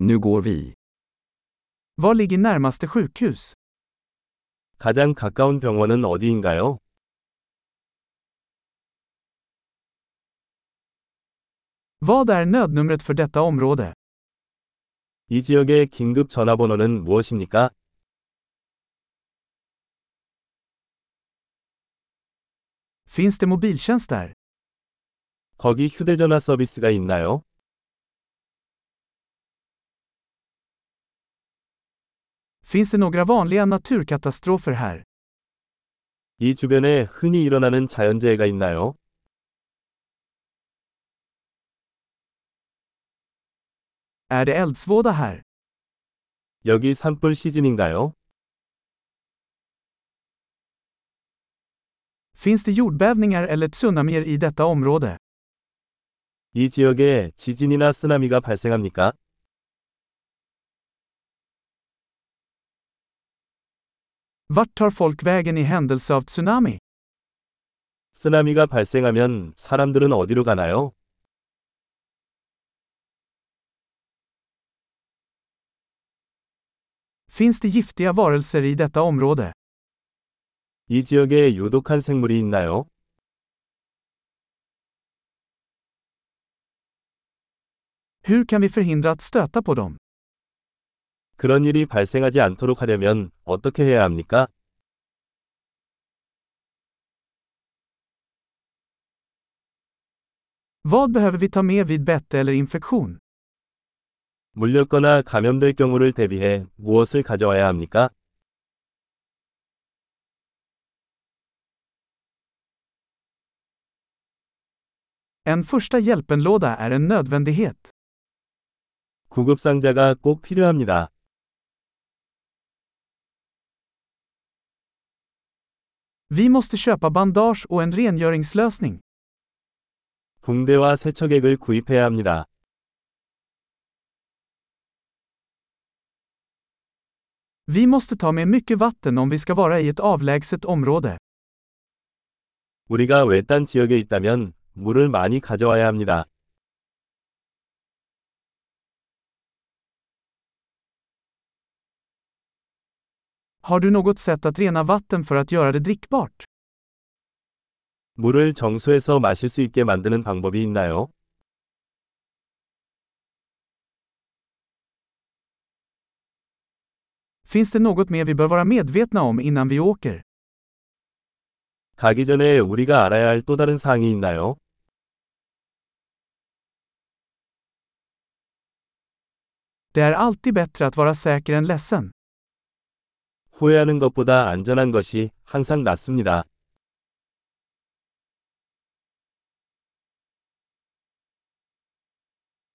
Nu går vi. Var ligger närmaste sjukhus? 가장 가까운 병원은 어디인가요? Vad är nödnumret för detta område? 이 지역의 긴급 전화번호는 무엇입니까? Finns det mobiltjänst där? 거기 휴대전화 서비스가 있나요? Finns det några vanliga naturkatastrofer här? 이 주변에 흔히 일어나는 자연재해가 있나요? Är det eldsvåda här? 여기 산불 시즌인가요? Finns det jordbävningar eller tsunamier i detta område? 이 지역에 지진이나 쓰나미가 발생합니까? Vart tar folk vägen i händelse av tsunami? 쓰나미가 발생하면 사람들은 어디로 가나요? Finns det giftiga varelser i detta område? 이 지역에 유독한 생물이 있나요? Hur kan vi förhindra att stöta på dem? 그런 일이 발생하지 않도록 하려면 어떻게 해야 합니까? Vad behöver vi ta med vid bett eller infektion? 물렸거나 감염될 경우를 대비해 무엇을 가져와야 합니까? En första hjälpenlåda är en nödvändighet. 구급상자가 꼭 필요합니다. Vi måste köpa bandage och en rengöringslösning. 붕대와 세척액을 구입해야 합니다. Vi måste ta med mycket vatten om vi ska vara i ett avlägset område. 우리가 외딴 지역에 있다면 물을 많이 가져와야 합니다. Har du något sätt att rena vatten för att göra det drickbart? 물을 정수해서 마실 수 있게 만드는 방법이 있나요? Finns det något mer vi bör vara medvetna om innan vi åker? 가기 전에 우리가 알아야 할 또 다른 사항이 있나요? Det är alltid bättre att vara säker än ledsen. 후회하는 것보다 안전한 것이 항상 낫습니다.